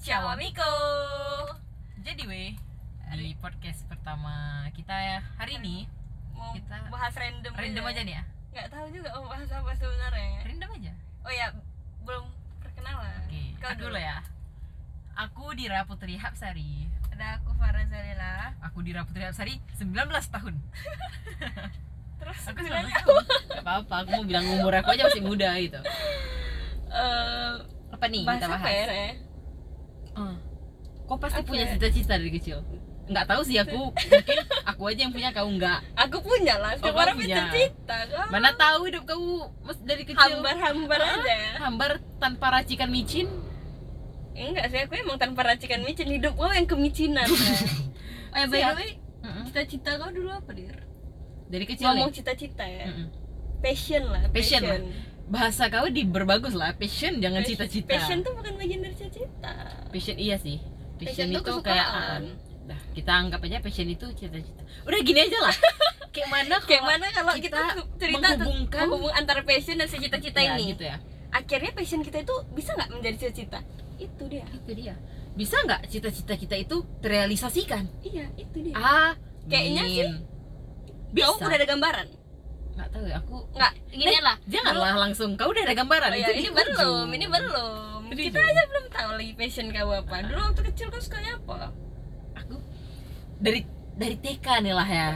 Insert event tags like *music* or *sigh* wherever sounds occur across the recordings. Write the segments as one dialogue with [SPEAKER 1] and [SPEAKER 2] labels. [SPEAKER 1] Assalamualaikum.
[SPEAKER 2] Jadi weh di podcast pertama kita ya hari ini
[SPEAKER 1] Mau
[SPEAKER 2] Kita-
[SPEAKER 1] bahas random
[SPEAKER 2] random aja nih ya.
[SPEAKER 1] Nggak tahu juga mau bahas apa sebenarnya.
[SPEAKER 2] Random aja.
[SPEAKER 1] Oh ya, belum perkenalan.
[SPEAKER 2] Oke,
[SPEAKER 1] Kau
[SPEAKER 2] aku dulu ya. Aku Dira Putri Hapsari.
[SPEAKER 3] Ada aku Farah Zalila
[SPEAKER 2] Aku Dira Putri Hapsari 19 tahun.
[SPEAKER 1] Terus
[SPEAKER 2] Aku
[SPEAKER 1] sebenarnya
[SPEAKER 2] 19 tahun. Gak apa-apa, aku mau bilang umur aku aja masih muda gitu.
[SPEAKER 1] eh
[SPEAKER 2] Apa nih
[SPEAKER 1] bahas
[SPEAKER 2] kita
[SPEAKER 1] apa
[SPEAKER 2] bahas?
[SPEAKER 1] ya? Re?
[SPEAKER 2] Eh, Kau pasti
[SPEAKER 1] Apa
[SPEAKER 2] punya
[SPEAKER 1] ya?
[SPEAKER 2] cita-cita dari kecil. Nggak tahu sih aku, mungkin aku aja yang punya kau nggak.
[SPEAKER 1] Aku punya lah, setiap
[SPEAKER 2] kau
[SPEAKER 1] orang
[SPEAKER 2] punya.
[SPEAKER 1] punya cerita kan.
[SPEAKER 2] Oh, Mana tahu hidup kau mas- dari kecil
[SPEAKER 1] Hambar-hambar
[SPEAKER 2] Ah.
[SPEAKER 1] aja.
[SPEAKER 2] hambar tanpa racikan micin.
[SPEAKER 1] Enggak sih, aku emang tanpa racikan micin hidup gue yang
[SPEAKER 2] *laughs*
[SPEAKER 1] kemicinan. Re. oh ya, by the
[SPEAKER 2] Siap.
[SPEAKER 1] way,
[SPEAKER 2] Mm-mm.
[SPEAKER 1] cita-cita kau dulu apa, Dir?
[SPEAKER 2] Dari kecil nih.
[SPEAKER 1] Ngomong cita-cita ya.
[SPEAKER 2] Mm-mm.
[SPEAKER 1] Passion lah,
[SPEAKER 2] Passion lah. bahasa kau diberbagus lah passion
[SPEAKER 1] Pas-
[SPEAKER 2] jangan cita-cita
[SPEAKER 1] Passion tuh bukan bagian dari cita-cita.
[SPEAKER 2] Passion iya sih passion,
[SPEAKER 1] Passion tuh
[SPEAKER 2] itu kayak
[SPEAKER 1] kesukaan.
[SPEAKER 2] Nah, kita anggap aja passion itu cita-cita udah gini aja lah kayak mana kalau
[SPEAKER 1] *laughs* Kayak mana kalau kita,
[SPEAKER 2] kita
[SPEAKER 1] cerita
[SPEAKER 2] menghubungkan-
[SPEAKER 1] tentang hubung antara passion dan si cita-cita
[SPEAKER 2] ya,
[SPEAKER 1] ini.
[SPEAKER 2] gitu ya
[SPEAKER 1] Akhirnya passion kita itu bisa nggak menjadi cita-cita? Itu dia.
[SPEAKER 2] itu dia bisa nggak cita-cita kita itu terrealisasikan
[SPEAKER 1] Iya, itu dia.
[SPEAKER 2] ah
[SPEAKER 1] Kayaknya sih Kamu
[SPEAKER 2] bisa
[SPEAKER 1] udah ada gambaran?
[SPEAKER 2] nggak tahu ya aku
[SPEAKER 1] Nggak, gini lah.
[SPEAKER 2] janganlah langsung kau udah ada gambaran
[SPEAKER 1] Oh ya,
[SPEAKER 2] itu
[SPEAKER 1] ini
[SPEAKER 2] di
[SPEAKER 1] belum,
[SPEAKER 2] ujung.
[SPEAKER 1] ini belum.
[SPEAKER 2] Itu di
[SPEAKER 1] Kita
[SPEAKER 2] ujung.
[SPEAKER 1] aja belum tahu lagi passion kau apa. Dulu waktu kecil kau sukanya apa?
[SPEAKER 2] aku dari dari TK nih lah ya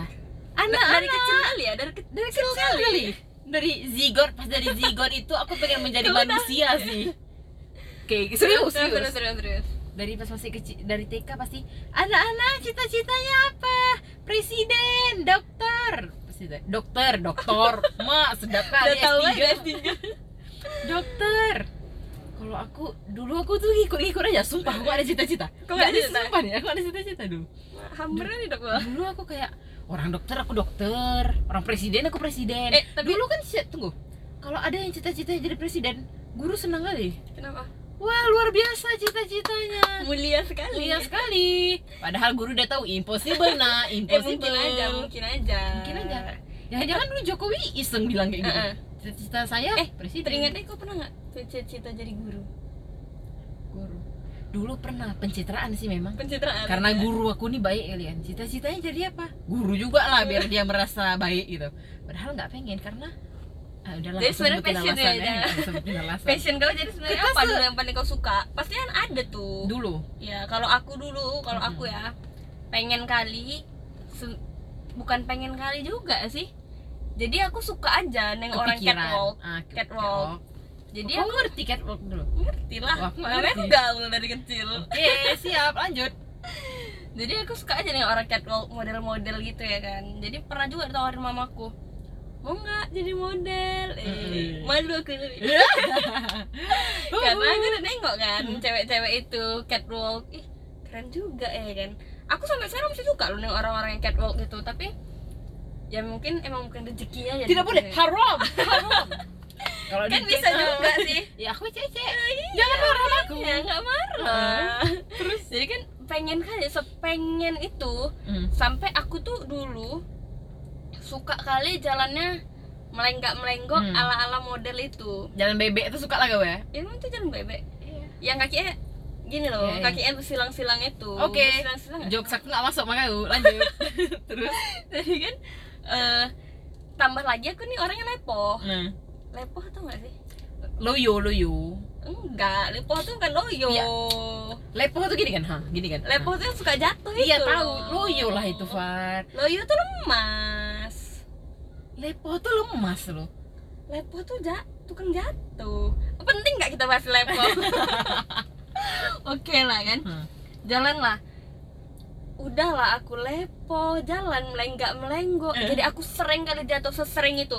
[SPEAKER 1] Anak dari
[SPEAKER 2] anak.
[SPEAKER 1] kecil kali ya, dari, ke- dari kecil,
[SPEAKER 2] kecil kali dari zigot pas dari zigot itu aku pengen *laughs* menjadi
[SPEAKER 1] Kau udah-
[SPEAKER 2] manusia sih kayak serius
[SPEAKER 1] Terus, terus,
[SPEAKER 2] serius
[SPEAKER 1] terus, terus.
[SPEAKER 2] dari pas masih kecil dari TK pasti anak-anak cita-citanya apa presiden dokter Presiden, dokter *laughs* dokter mak sedap
[SPEAKER 1] Udah
[SPEAKER 2] kali
[SPEAKER 1] tahu
[SPEAKER 2] S3.
[SPEAKER 1] aja S3.
[SPEAKER 2] dokter kalau aku dulu aku tuh ikut-ikut aja sumpah aku ada cita-cita
[SPEAKER 1] Kau
[SPEAKER 2] Nggak
[SPEAKER 1] ada
[SPEAKER 2] ada
[SPEAKER 1] cita-cita?
[SPEAKER 2] sumpah nih aku ada cita-cita dulu
[SPEAKER 1] Hampir nih dok gua.
[SPEAKER 2] dulu aku kayak orang dokter aku dokter orang presiden aku presiden
[SPEAKER 1] Eh, tapi-
[SPEAKER 2] dulu kan si- tunggu kalau ada yang cita-citanya jadi presiden guru senang kali
[SPEAKER 1] Kenapa?
[SPEAKER 2] wah luar biasa cita-citanya
[SPEAKER 1] Mulia sekali.
[SPEAKER 2] mulia sekali padahal guru udah tahu impossible *laughs* nah
[SPEAKER 1] Eh
[SPEAKER 2] impossible
[SPEAKER 1] mungkin aja, mungkin aja.
[SPEAKER 2] Mungkin aja. jangan-jangan dulu Jokowi iseng bilang kayak gitu
[SPEAKER 1] Heeh.
[SPEAKER 2] cita-cita saya
[SPEAKER 1] Eh,
[SPEAKER 2] presiden
[SPEAKER 1] Teringatnya kau pernah nggak punya cita-cita jadi guru?
[SPEAKER 2] guru dulu pernah pencitraan sih memang
[SPEAKER 1] Pencitraan.
[SPEAKER 2] karena guru aku nih baik kalian cita-citanya jadi apa guru juga lah biar dia merasa baik gitu padahal nggak pengen karena ah, udahlah
[SPEAKER 1] Jadi
[SPEAKER 2] aku
[SPEAKER 1] sebenarnya
[SPEAKER 2] sebutin
[SPEAKER 1] passion
[SPEAKER 2] alasan
[SPEAKER 1] ya,
[SPEAKER 2] aku sebutin alasan
[SPEAKER 1] Passion kau jadi sebenarnya
[SPEAKER 2] Kita
[SPEAKER 1] apa
[SPEAKER 2] se-
[SPEAKER 1] dulu yang paling kau suka? Pasti kan ada tuh.
[SPEAKER 2] dulu
[SPEAKER 1] Ya kalau aku dulu, kalau
[SPEAKER 2] Mm-mm.
[SPEAKER 1] aku ya pengen kali, se- bukan pengen kali juga sih. Jadi aku suka aja neng orang
[SPEAKER 2] kepikiran
[SPEAKER 1] catwalk.
[SPEAKER 2] Ah, ke-
[SPEAKER 1] Catwalk. Jadi
[SPEAKER 2] catwalk.
[SPEAKER 1] aku
[SPEAKER 2] Kau ngerti catwalk dulu
[SPEAKER 1] ngerti lah.
[SPEAKER 2] Wah, aku nggak
[SPEAKER 1] Namanya aku
[SPEAKER 2] ngerti.
[SPEAKER 1] gaul dari kecil.
[SPEAKER 2] oke siap lanjut
[SPEAKER 1] Jadi aku suka aja nih orang catwalk model-model gitu ya kan. Jadi pernah juga ditawarin mamaku. Mau nggak jadi model? Eh,
[SPEAKER 2] Mm-mm.
[SPEAKER 1] malu aku.
[SPEAKER 2] *laughs*
[SPEAKER 1] Karena aku udah nengok kan cewek-cewek itu catwalk. Ih, keren juga ya kan. Aku sampai sekarang masih suka loh dengan orang-orang yang catwalk gitu, tapi ya mungkin emang bukan rezekinya ya.
[SPEAKER 2] tidak boleh
[SPEAKER 1] gitu ya.
[SPEAKER 2] haram haram kalau
[SPEAKER 1] Kan
[SPEAKER 2] di-
[SPEAKER 1] bisa juga sih. Oh, iya.
[SPEAKER 2] ya aku cece jangan marah sama aku
[SPEAKER 1] Ya nggak marah. Terus jadi kan pengen kali sepengen itu
[SPEAKER 2] Hmm.
[SPEAKER 1] sampai aku tuh dulu suka kali jalannya melenggak melenggok
[SPEAKER 2] Hmm.
[SPEAKER 1] ala ala model itu
[SPEAKER 2] jalan bebek itu suka lah gue ya
[SPEAKER 1] emang tuh jalan bebek yang kakinya gini loh
[SPEAKER 2] Iya, iya.
[SPEAKER 1] kakinya bersilang silang itu
[SPEAKER 2] Oke.
[SPEAKER 1] bersilang silang
[SPEAKER 2] jokes aku nggak masuk sama kau lanjut *laughs* terus
[SPEAKER 1] *laughs* jadi kan eh, tambah lagi aku nih orangnya lepoh
[SPEAKER 2] nah.
[SPEAKER 1] lepoh tau gak sih
[SPEAKER 2] loyo loyo
[SPEAKER 1] enggak lepoh tuh kan loyo
[SPEAKER 2] Iya. Lepo tuh gini kan, ha? Gini kan?
[SPEAKER 1] lepoh tuh gitu. yang suka jatuh
[SPEAKER 2] Ha. Iya
[SPEAKER 1] itu
[SPEAKER 2] tahu,
[SPEAKER 1] loh.
[SPEAKER 2] loyo lah itu Far.
[SPEAKER 1] loyo tuh lemas
[SPEAKER 2] Lepo tuh lemas loh.
[SPEAKER 1] Lepo tuh ja tukang jatuh. Penting nggak kita bahas Lepo?
[SPEAKER 2] *laughs*
[SPEAKER 1] Oke lah kan.
[SPEAKER 2] Hmm.
[SPEAKER 1] Jalan lah. Udahlah aku lepo, jalan melenggak melenggo.
[SPEAKER 2] Eh.
[SPEAKER 1] Jadi aku sering kali jatuh sesering itu.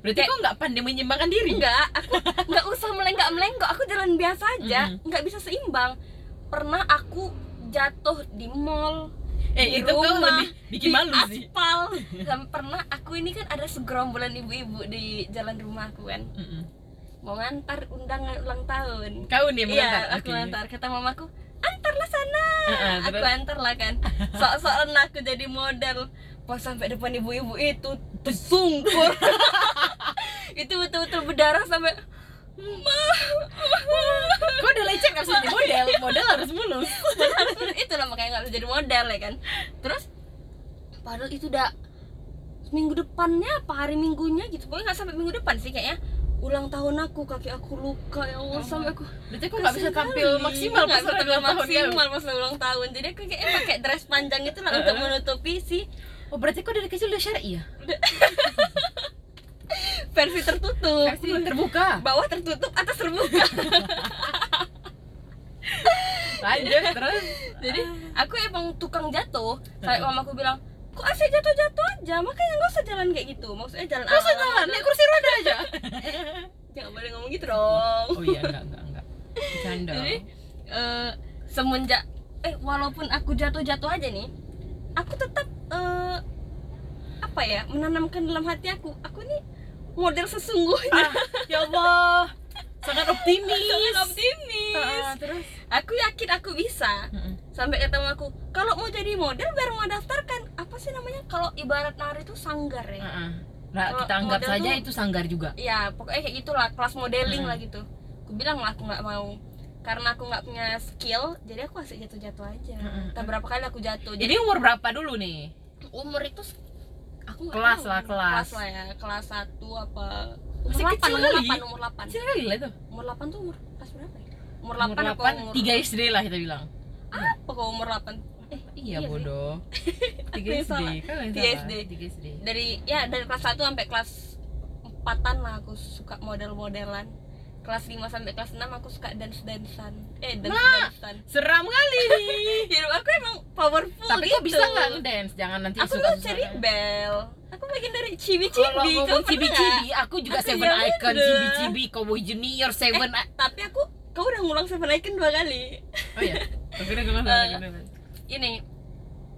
[SPEAKER 2] Berarti
[SPEAKER 1] Kayak-
[SPEAKER 2] kok nggak pandai menyeimbangkan diri?
[SPEAKER 1] Enggak, aku nggak usah melenggak melenggo. Aku jalan biasa aja,
[SPEAKER 2] Mhm.
[SPEAKER 1] nggak bisa seimbang. Pernah aku jatuh di mall, di
[SPEAKER 2] Eh itu kau
[SPEAKER 1] rumah,
[SPEAKER 2] lebih
[SPEAKER 1] di
[SPEAKER 2] bikin malu sih.
[SPEAKER 1] aspal. Dan pernah aku ini kan ada segerombolan ibu-ibu di jalan rumahku kan.
[SPEAKER 2] Mm-mm.
[SPEAKER 1] mau ngantar undangan ulang tahun
[SPEAKER 2] Kau nih yang mengantar.
[SPEAKER 1] iya aku
[SPEAKER 2] Oke.
[SPEAKER 1] ngantar kata mamaku antarlah sana
[SPEAKER 2] Ah, ah,
[SPEAKER 1] aku
[SPEAKER 2] terus?
[SPEAKER 1] antar lah kan sok-sokan aku jadi model pas sampai depan ibu-ibu itu *laughs* tersungkur itu betul-betul berdarah sampai "Ma, ma."
[SPEAKER 2] Kau udah lecet nggak sih model, model mulus-mulus
[SPEAKER 1] padahal itu lah makanya nggak bisa jadi model ya kan terus padahal itu udah minggu depannya apa hari minggunya gitu pokoknya nggak sampai minggu depan sih kayaknya ulang tahun aku kaki aku luka ya Allah sampai aku
[SPEAKER 2] berarti kok nggak bisa tampil maksimal
[SPEAKER 1] nggak
[SPEAKER 2] pas
[SPEAKER 1] bisa tampil
[SPEAKER 2] ulang tahun ya
[SPEAKER 1] maksimal pas ulang tahun jadi aku kayaknya pakai dress panjang itu lah untuk menutupi si
[SPEAKER 2] oh berarti kok dari kecil udah syari ya
[SPEAKER 1] versi tertutup
[SPEAKER 2] versi terbuka
[SPEAKER 1] bawah tertutup atas terbuka
[SPEAKER 2] lanjut terus
[SPEAKER 1] *laughs* jadi aku emang tukang jatuh sampai mamaku bilang kok asik jatuh-jatuh aja makanya nggak usah jalan kayak gitu maksudnya jalan
[SPEAKER 2] terus
[SPEAKER 1] ala-ala
[SPEAKER 2] jalan naik kursi roda aja
[SPEAKER 1] jangan boleh ngomong gitu dong
[SPEAKER 2] oh iya enggak enggak enggak bercanda
[SPEAKER 1] Jadi, eh, semenjak eh walaupun aku jatuh-jatuh aja nih aku tetap eh, apa ya menanamkan dalam hati aku aku nih model sesungguhnya
[SPEAKER 2] *laughs* ah, ya Allah sangat optimis
[SPEAKER 1] Sangat Kan optimis
[SPEAKER 2] Ah, terus
[SPEAKER 1] aku yakin aku bisa sampai ketemu aku kalau mau jadi model biar mau daftarkan apa sih namanya kalau ibarat nari itu sanggar ya
[SPEAKER 2] Ah, ah. Nah,
[SPEAKER 1] Kalau
[SPEAKER 2] kita anggap
[SPEAKER 1] model
[SPEAKER 2] saja
[SPEAKER 1] tuh-
[SPEAKER 2] itu sanggar juga
[SPEAKER 1] ya pokoknya kayak gitulah kelas modeling
[SPEAKER 2] Hmm.
[SPEAKER 1] lah gitu aku bilang lah aku nggak mau karena aku nggak punya skill jadi aku asik jatuh-jatuh aja
[SPEAKER 2] Hmm.
[SPEAKER 1] Entah berapa kali aku jatuh jadi
[SPEAKER 2] jadi umur berapa dulu nih
[SPEAKER 1] umur itu se- aku nggak
[SPEAKER 2] Kelas
[SPEAKER 1] tahu.
[SPEAKER 2] lah, kelas.
[SPEAKER 1] kelas lah ya kelas satu apa
[SPEAKER 2] Masih
[SPEAKER 1] umur delapan umur
[SPEAKER 2] kecil kali.
[SPEAKER 1] delapan umur delapan
[SPEAKER 2] kecil kali lah itu
[SPEAKER 1] umur delapan tuh umur kelas berapa ya gitu. umur
[SPEAKER 2] umur
[SPEAKER 1] delapan apa
[SPEAKER 2] 8
[SPEAKER 1] umur
[SPEAKER 2] tiga SD lah kita bilang
[SPEAKER 1] apa kok umur delapan eh
[SPEAKER 2] iya
[SPEAKER 1] sih. *laughs*
[SPEAKER 2] bodoh tiga
[SPEAKER 1] yang
[SPEAKER 2] SD
[SPEAKER 1] salah.
[SPEAKER 2] kan yang
[SPEAKER 1] Tiga
[SPEAKER 2] salah.
[SPEAKER 1] SD.
[SPEAKER 2] tiga
[SPEAKER 1] *laughs*
[SPEAKER 2] SD
[SPEAKER 1] dari ya dari kelas 1 sampai kelas 4-an lah aku suka model-modelan kelas 5 sampai kelas 6 aku suka dance-dancean eh dance-dancean *laughs*
[SPEAKER 2] seram kali
[SPEAKER 1] hidup aku emang powerful
[SPEAKER 2] *laughs* tapi
[SPEAKER 1] gitu.
[SPEAKER 2] kok bisa nggak ngedance jangan nanti
[SPEAKER 1] aku
[SPEAKER 2] suka
[SPEAKER 1] nggak cari bel aku bagian dari
[SPEAKER 2] kalau
[SPEAKER 1] cibi-cibi
[SPEAKER 2] ngomong
[SPEAKER 1] kamu pernah nggak?
[SPEAKER 2] cibi-cibi aku juga
[SPEAKER 1] Aku Eh,
[SPEAKER 2] seven
[SPEAKER 1] ya
[SPEAKER 2] icon
[SPEAKER 1] udah.
[SPEAKER 2] cibi-cibi cowboy junior seven I-
[SPEAKER 1] tapi aku kau udah ngulang Seven Icon dua kali
[SPEAKER 2] oh iya Oke, udah, udah, udah,
[SPEAKER 1] Eh.
[SPEAKER 2] udah, udah.
[SPEAKER 1] ini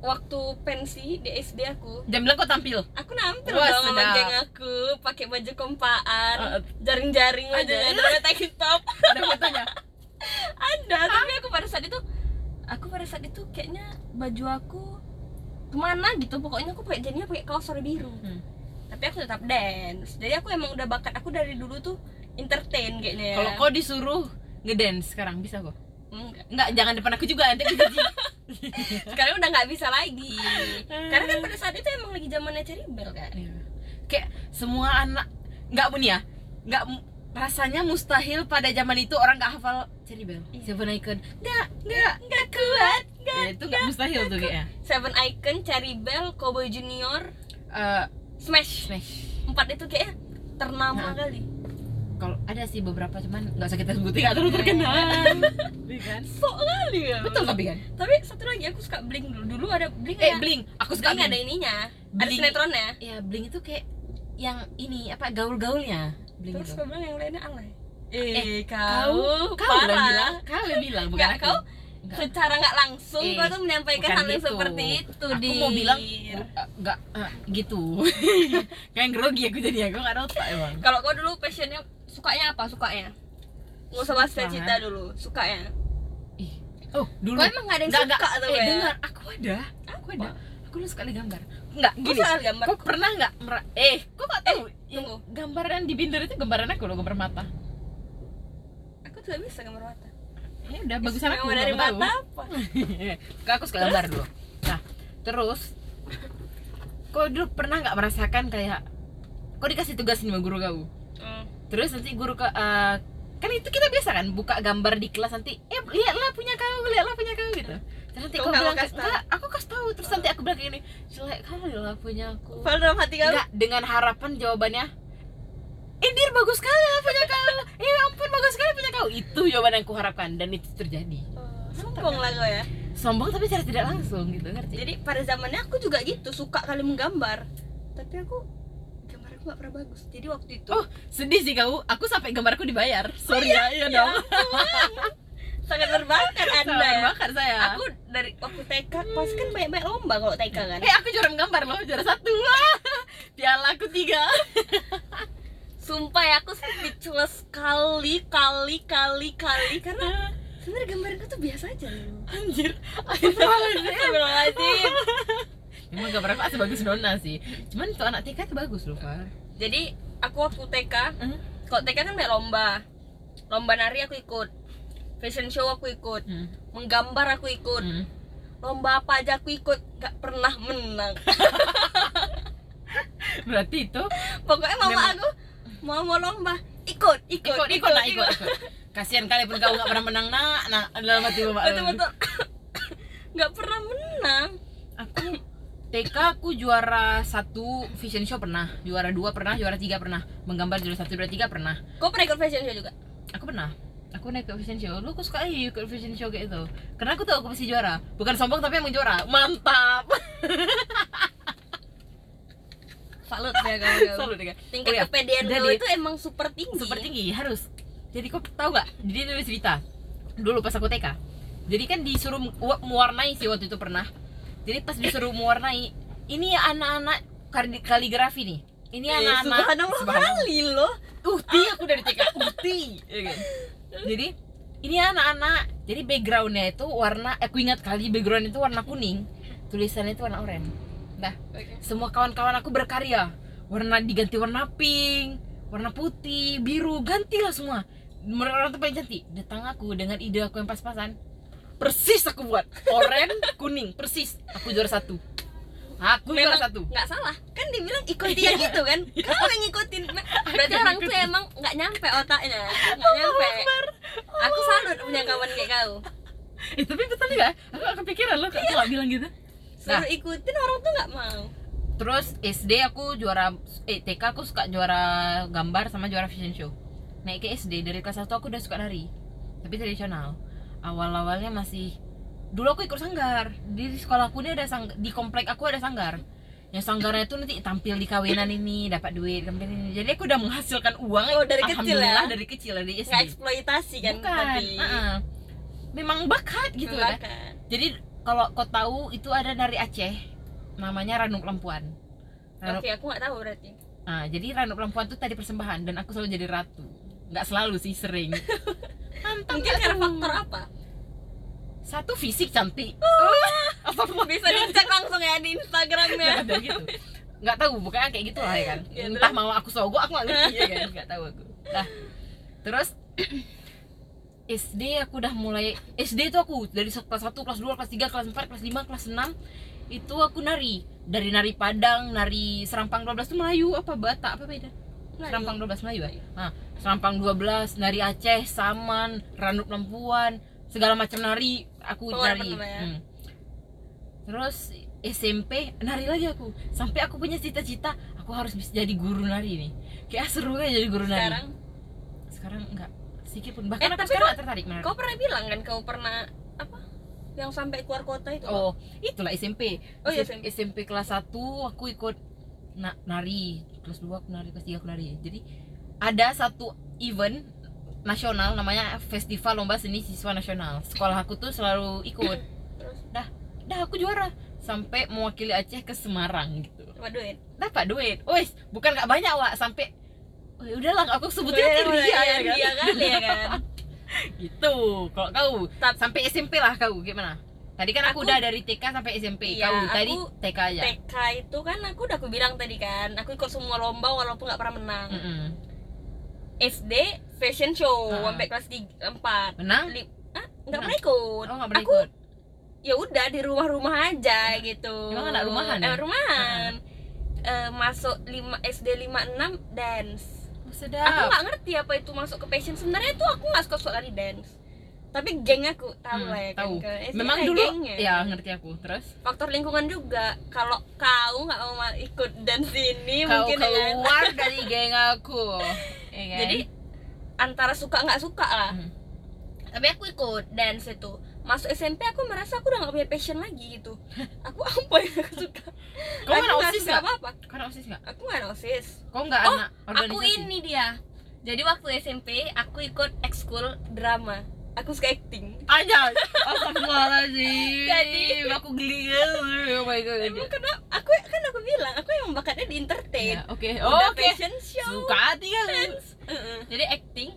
[SPEAKER 1] waktu pensi di SD aku
[SPEAKER 2] jam bilang kok tampil
[SPEAKER 1] aku nampil
[SPEAKER 2] Wah,
[SPEAKER 1] dong sama
[SPEAKER 2] sedap.
[SPEAKER 1] geng aku pakai baju kompaan
[SPEAKER 2] Eh,
[SPEAKER 1] jaring-jaring aja
[SPEAKER 2] ada.
[SPEAKER 1] ada tank top
[SPEAKER 2] ada fotonya
[SPEAKER 1] ada tapi aku pada saat itu aku pada saat itu kayaknya baju aku kemana gitu pokoknya aku pakai jadinya pakai kaos warna biru
[SPEAKER 2] Hmm.
[SPEAKER 1] tapi aku tetap dance jadi aku emang udah bakat aku dari dulu tuh entertain kayaknya Hmm, ya.
[SPEAKER 2] kalau kau disuruh ngedance sekarang bisa kok
[SPEAKER 1] Enggak.
[SPEAKER 2] Enggak, jangan depan aku juga nanti aku jijik.
[SPEAKER 1] sekarang udah nggak bisa lagi karena kan pada saat itu emang lagi zamannya cari bel kan
[SPEAKER 2] *laughs* Iya. kayak semua anak nggak pun ya nggak mu- rasanya mustahil pada zaman itu orang nggak hafal Cherry Bell
[SPEAKER 1] Iya.
[SPEAKER 2] Seven Icon nggak nggak
[SPEAKER 1] nggak kuat
[SPEAKER 2] Ya, itu nggak mustahil tuh ya? kayaknya
[SPEAKER 1] Seven Icon, Cherry Bell, Cowboy Junior,
[SPEAKER 2] Eh,
[SPEAKER 1] Smash
[SPEAKER 2] Smash
[SPEAKER 1] empat itu kayaknya ternama
[SPEAKER 2] Nah.
[SPEAKER 1] kali
[SPEAKER 2] kalau ada sih beberapa cuman nggak usah kita sebutin nggak terlalu terkenal Iya kan
[SPEAKER 1] sok kali ya
[SPEAKER 2] betul tapi kan
[SPEAKER 1] tapi satu lagi aku suka Blink dulu dulu ada Blink
[SPEAKER 2] eh
[SPEAKER 1] ada-
[SPEAKER 2] bling aku suka
[SPEAKER 1] Blink
[SPEAKER 2] bling
[SPEAKER 1] ada ininya ada
[SPEAKER 2] Blink.
[SPEAKER 1] sinetronnya
[SPEAKER 2] ya bling itu kayak yang ini apa gaul-gaulnya bling
[SPEAKER 1] terus
[SPEAKER 2] itu
[SPEAKER 1] kau bilang yang lainnya alay
[SPEAKER 2] Eh,
[SPEAKER 1] kau,
[SPEAKER 2] kau yang bilang
[SPEAKER 1] parah
[SPEAKER 2] kau yang bilang bukan
[SPEAKER 1] Nggak,
[SPEAKER 2] aku
[SPEAKER 1] kau
[SPEAKER 2] Nggak.
[SPEAKER 1] secara nggak langsung
[SPEAKER 2] Eh,
[SPEAKER 1] kau tuh menyampaikan
[SPEAKER 2] bukan
[SPEAKER 1] hal yang
[SPEAKER 2] gitu.
[SPEAKER 1] seperti itu
[SPEAKER 2] aku
[SPEAKER 1] di
[SPEAKER 2] mau bilang uh, nggak uh, gitu *laughs* kayak grogi aku jadi aku nggak ada otak emang
[SPEAKER 1] kalau kau dulu passionnya sukanya apa sukanya nggak usah bahas
[SPEAKER 2] Suka.
[SPEAKER 1] cita dulu sukanya
[SPEAKER 2] Ih, oh dulu
[SPEAKER 1] kau emang nggak ada yang
[SPEAKER 2] Nggak,
[SPEAKER 1] suka
[SPEAKER 2] nggak.
[SPEAKER 1] tuh
[SPEAKER 2] eh,
[SPEAKER 1] ya
[SPEAKER 2] dengar aku ada aku ada aku dulu suka lihat gambar Oh. nggak
[SPEAKER 1] Kau
[SPEAKER 2] gini
[SPEAKER 1] salah gambar
[SPEAKER 2] kau pernah nggak mera- eh kok nggak tahu yang
[SPEAKER 1] tunggu.
[SPEAKER 2] gambaran di binder itu gambaran aku loh gambar mata
[SPEAKER 1] aku tuh nggak bisa gambar mata
[SPEAKER 2] ya udah bagusan aku
[SPEAKER 1] Emang dari
[SPEAKER 2] nggak tahu
[SPEAKER 1] mata apa
[SPEAKER 2] Kak, aku suka gambar dulu nah terus kau dulu pernah nggak merasakan kayak kau dikasih tugas nih sama guru kau
[SPEAKER 1] Hmm.
[SPEAKER 2] terus nanti guru ke eh, kan itu kita biasa kan buka gambar di kelas nanti eh lihatlah punya kau lihatlah punya kau gitu terus nanti
[SPEAKER 1] Kau
[SPEAKER 2] aku
[SPEAKER 1] nggak mau
[SPEAKER 2] bilang
[SPEAKER 1] kasih tahu?
[SPEAKER 2] enggak aku kasih tahu terus nanti aku bilang kayak gini jelek kali lah punya aku
[SPEAKER 1] Padahal dalam hati kau
[SPEAKER 2] enggak dengan harapan jawabannya Indir bagus sekali lah punya kau ya ampun bagus sekali punya kau itu jawaban yang kuharapkan dan itu terjadi
[SPEAKER 1] Oh, sombong lah kau ya
[SPEAKER 2] sombong tapi secara tidak langsung gitu ngerti
[SPEAKER 1] jadi pada zamannya aku juga gitu suka kali menggambar tapi aku gambar aku gak pernah bagus jadi waktu itu
[SPEAKER 2] oh sedih sih kau aku sampai gambarku dibayar sorry ya iya
[SPEAKER 1] ya
[SPEAKER 2] dong
[SPEAKER 1] ampun. sangat berbakat anda
[SPEAKER 2] salah bakar saya
[SPEAKER 1] aku dari waktu TK pasti kan banyak banyak lomba kalau TK kan
[SPEAKER 2] Eh aku juara menggambar loh, juara satu *laughs* Piala aku tiga
[SPEAKER 1] sumpah ya aku speechless kali kali kali kali karena sebenarnya gambarku tuh biasa aja loh
[SPEAKER 2] *laughs* *laughs* Anjir
[SPEAKER 1] Astagfirullahaladzim.
[SPEAKER 2] Emang gambar aku sebagus Nona sih Cuman tuh anak TK tuh bagus loh Far
[SPEAKER 1] jadi
[SPEAKER 2] Hmm?
[SPEAKER 1] aku waktu TK kalau TK kan banyak lomba lomba nari aku ikut fashion show aku ikut
[SPEAKER 2] Hmm.
[SPEAKER 1] menggambar aku ikut
[SPEAKER 2] Hmm.
[SPEAKER 1] lomba apa aja aku ikut nggak pernah menang
[SPEAKER 2] Berarti itu
[SPEAKER 1] pokoknya mama
[SPEAKER 2] Memang-
[SPEAKER 1] aku mau mau lomba ikut ikut
[SPEAKER 2] ikut ikut nak ikut. ikut. Kasihan kali pun kau nggak pernah menang nak nak dalam hati bapak.
[SPEAKER 1] betul betul *coughs* nggak pernah menang
[SPEAKER 2] Aku TK aku juara satu fashion show pernah, juara dua pernah, juara tiga pernah, menggambar juara satu juara tiga pernah.
[SPEAKER 1] kau pernah ikut fashion show juga
[SPEAKER 2] Aku pernah. Aku naik ke fashion show. Lu aku suka eh ikut fashion show kayak itu. Karena aku tahu aku pasti juara. Bukan sombong tapi emang juara. Mantap.
[SPEAKER 1] salut ya kau
[SPEAKER 2] *laughs* Salut deh.
[SPEAKER 1] tingkat
[SPEAKER 2] Oh iya,
[SPEAKER 1] kepedean kau
[SPEAKER 2] jadi-
[SPEAKER 1] itu emang super tinggi ya?
[SPEAKER 2] super tinggi harus jadi kau tahu gak jadi dia cerita dulu pas aku TK jadi kan disuruh mu- mewarnai sih waktu itu pernah jadi pas disuruh mewarnai ini ya anak-anak kali- kaligrafi nih ini
[SPEAKER 1] Eh,
[SPEAKER 2] anak-anak
[SPEAKER 1] subhanallah
[SPEAKER 2] Subhanallah.
[SPEAKER 1] kali loh
[SPEAKER 2] ukti Uh, aku dari TK ukti ya kan? jadi ini anak-anak jadi backgroundnya itu warna aku ingat kali background itu warna kuning tulisannya itu warna oranye nah semua kawan-kawan aku berkarya warna diganti warna pink warna putih biru gantilah semua menurut orang tuh paling cantik datang aku dengan ide aku yang pas-pasan persis aku buat oranye kuning persis aku juara satu aku
[SPEAKER 1] memang
[SPEAKER 2] juara satu
[SPEAKER 1] nggak salah kan dibilang ikutin yang itu kan kau yang ngikutin Nah,
[SPEAKER 2] *laughs*
[SPEAKER 1] berarti
[SPEAKER 2] Iya. yang
[SPEAKER 1] orang tuh emang nggak nyampe otaknya
[SPEAKER 2] *laughs*
[SPEAKER 1] nggak nyampe aku salut punya kawan kayak kau
[SPEAKER 2] eh, tapi betul nggak aku gak kepikiran loh kak Kela bilang gitu
[SPEAKER 1] suruh ikutin orang tuh nggak mau
[SPEAKER 2] terus SD aku juara eh TK aku suka juara gambar sama juara fashion show Nah, naik ke SD dari kelas 1 aku udah suka lari tapi tradisional awal-awalnya masih dulu aku ikut sanggar di sekolah aku ini ada sang di komplek aku ada sanggar yang sanggarnya itu nanti tampil di kawinan ini dapat duit tampil ini jadi aku udah menghasilkan uang
[SPEAKER 1] Oh, dari kecil ya?
[SPEAKER 2] Alhamdulillah, dari kecil dari SD
[SPEAKER 1] nggak eksploitasi kan
[SPEAKER 2] bukan
[SPEAKER 1] tapi kan.
[SPEAKER 2] uh-uh. memang bakat gitu ya
[SPEAKER 1] Silakan.
[SPEAKER 2] jadi kalau kau tahu itu ada dari Aceh namanya Ranum Lampuan Ranum
[SPEAKER 1] oke aku nggak tahu berarti
[SPEAKER 2] Ah, jadi Rano perempuan tuh tadi persembahan dan aku selalu jadi ratu. Nggak selalu sih,
[SPEAKER 1] *laughs*
[SPEAKER 2] sering. Mantap.
[SPEAKER 1] mungkin
[SPEAKER 2] nggak
[SPEAKER 1] karena
[SPEAKER 2] tuh?
[SPEAKER 1] faktor apa Oh.
[SPEAKER 2] Satu fisik cantik. *laughs*
[SPEAKER 1] bisa dicek langsung ya di instagramnya
[SPEAKER 2] Nggak ada gitu. Nggak tahu, bukannya kayak gitu lah ya kan.
[SPEAKER 1] Ya,
[SPEAKER 2] Entah
[SPEAKER 1] terus?
[SPEAKER 2] mau aku sogok aku nggak ngerti ya kan. Nggak tahu aku. Nah, terus *clears throat* SD aku udah mulai SD itu aku dari kelas 1, kelas 2, kelas 3, kelas 4, kelas 5, kelas 6 itu aku nari dari nari Padang, nari Serampang 12 itu Melayu apa Batak apa beda? Serampang
[SPEAKER 1] iya.
[SPEAKER 2] 12 Melayu ya? Nah, Serampang 12, nari Aceh, Saman, Randup Lampuan, segala macam nari aku
[SPEAKER 1] Oh,
[SPEAKER 2] nari.
[SPEAKER 1] pernah ya.
[SPEAKER 2] Hmm. Terus SMP nari lagi aku. Sampai aku punya cita-cita aku harus bisa jadi guru nari nih. Kayak seru ya jadi guru
[SPEAKER 1] sekarang
[SPEAKER 2] nari. Sekarang enggak sedikit pun
[SPEAKER 1] Eh,
[SPEAKER 2] bahkan aku
[SPEAKER 1] tapi
[SPEAKER 2] sekarang nggak tertarik menari.
[SPEAKER 1] kau pernah bilang kan kau pernah apa yang sampai keluar kota itu
[SPEAKER 2] Oh, itulah SMP.
[SPEAKER 1] Oh, iya,
[SPEAKER 2] SMP. kelas 1 aku ikut na- nari, kelas 2 aku nari, kelas 3 aku nari. Jadi ada satu event nasional namanya Festival Lomba Seni Siswa Nasional. Sekolah aku tuh selalu ikut.
[SPEAKER 1] *coughs* Terus?
[SPEAKER 2] Dah, dah aku juara sampai mewakili Aceh ke Semarang gitu.
[SPEAKER 1] Dapat duit
[SPEAKER 2] Dapat duit. Wes, bukan nggak banyak, Wak, sampai Oh, ya udahlah aku sebutin
[SPEAKER 1] Iya,
[SPEAKER 2] aja dia ya
[SPEAKER 1] iya,
[SPEAKER 2] kan?
[SPEAKER 1] iya kali ya
[SPEAKER 2] *laughs*
[SPEAKER 1] kan
[SPEAKER 2] gitu kalau kau
[SPEAKER 1] Tapi-
[SPEAKER 2] sampai SMP lah kau gimana tadi kan aku,
[SPEAKER 1] Aku-
[SPEAKER 2] udah dari TK sampai SMP
[SPEAKER 1] Iya,
[SPEAKER 2] kau tadi
[SPEAKER 1] aku
[SPEAKER 2] TK aja
[SPEAKER 1] TK itu kan aku udah aku bilang tadi kan aku ikut semua lomba walaupun nggak pernah menang
[SPEAKER 2] Mm-mm.
[SPEAKER 1] SD fashion show
[SPEAKER 2] Ah.
[SPEAKER 1] sampai kelas 3, 4
[SPEAKER 2] menang
[SPEAKER 1] Lim- ah, nggak
[SPEAKER 2] Menang.
[SPEAKER 1] pernah ikut
[SPEAKER 2] oh nggak pernah
[SPEAKER 1] aku
[SPEAKER 2] ikut
[SPEAKER 1] ya udah di rumah-rumah aja gitu
[SPEAKER 2] Emang anak rumahan ya?
[SPEAKER 1] Eh, rumahan Eh, masuk 5 SD 56 dance
[SPEAKER 2] oh,
[SPEAKER 1] aku
[SPEAKER 2] sedap
[SPEAKER 1] nggak ngerti apa itu masuk ke passion sebenarnya tuh aku nggak suka suka lari dance tapi geng aku tahu
[SPEAKER 2] Hmm,
[SPEAKER 1] lah ya kan,
[SPEAKER 2] tahu.
[SPEAKER 1] ke SD
[SPEAKER 2] memang
[SPEAKER 1] ada
[SPEAKER 2] dulu
[SPEAKER 1] gengnya.
[SPEAKER 2] ya ngerti aku terus
[SPEAKER 1] faktor lingkungan juga kalau kau nggak mau ma- ikut dance ini
[SPEAKER 2] kau
[SPEAKER 1] Ya, mungkin kan, dengan
[SPEAKER 2] keluar dari geng
[SPEAKER 1] *laughs*
[SPEAKER 2] aku ya kan?
[SPEAKER 1] jadi antara suka nggak suka lah
[SPEAKER 2] Hmm.
[SPEAKER 1] tapi aku ikut dance itu masuk SMP aku merasa aku udah gak punya passion lagi
[SPEAKER 2] *laughs*
[SPEAKER 1] gitu aku apa yang aku suka aku
[SPEAKER 2] kau anak
[SPEAKER 1] nggak
[SPEAKER 2] osis
[SPEAKER 1] suka
[SPEAKER 2] nggak
[SPEAKER 1] apa apa
[SPEAKER 2] kau anak osis nggak
[SPEAKER 1] aku nggak nosis
[SPEAKER 2] kau nggak
[SPEAKER 1] Oh,
[SPEAKER 2] anak
[SPEAKER 1] aku
[SPEAKER 2] organisasi
[SPEAKER 1] ini dia jadi waktu SMP aku ikut ekskul drama aku suka acting *laughs*
[SPEAKER 2] aja Astagfirullahaladzim
[SPEAKER 1] Jadi-
[SPEAKER 2] aku geli geli oh my god
[SPEAKER 1] Emang kenapa? Aku kan aku bilang, aku emang bakatnya di entertain.
[SPEAKER 2] Ya, oke
[SPEAKER 1] Udah
[SPEAKER 2] oke
[SPEAKER 1] fashion show.
[SPEAKER 2] suka hati kali
[SPEAKER 1] Heeh. Jadi acting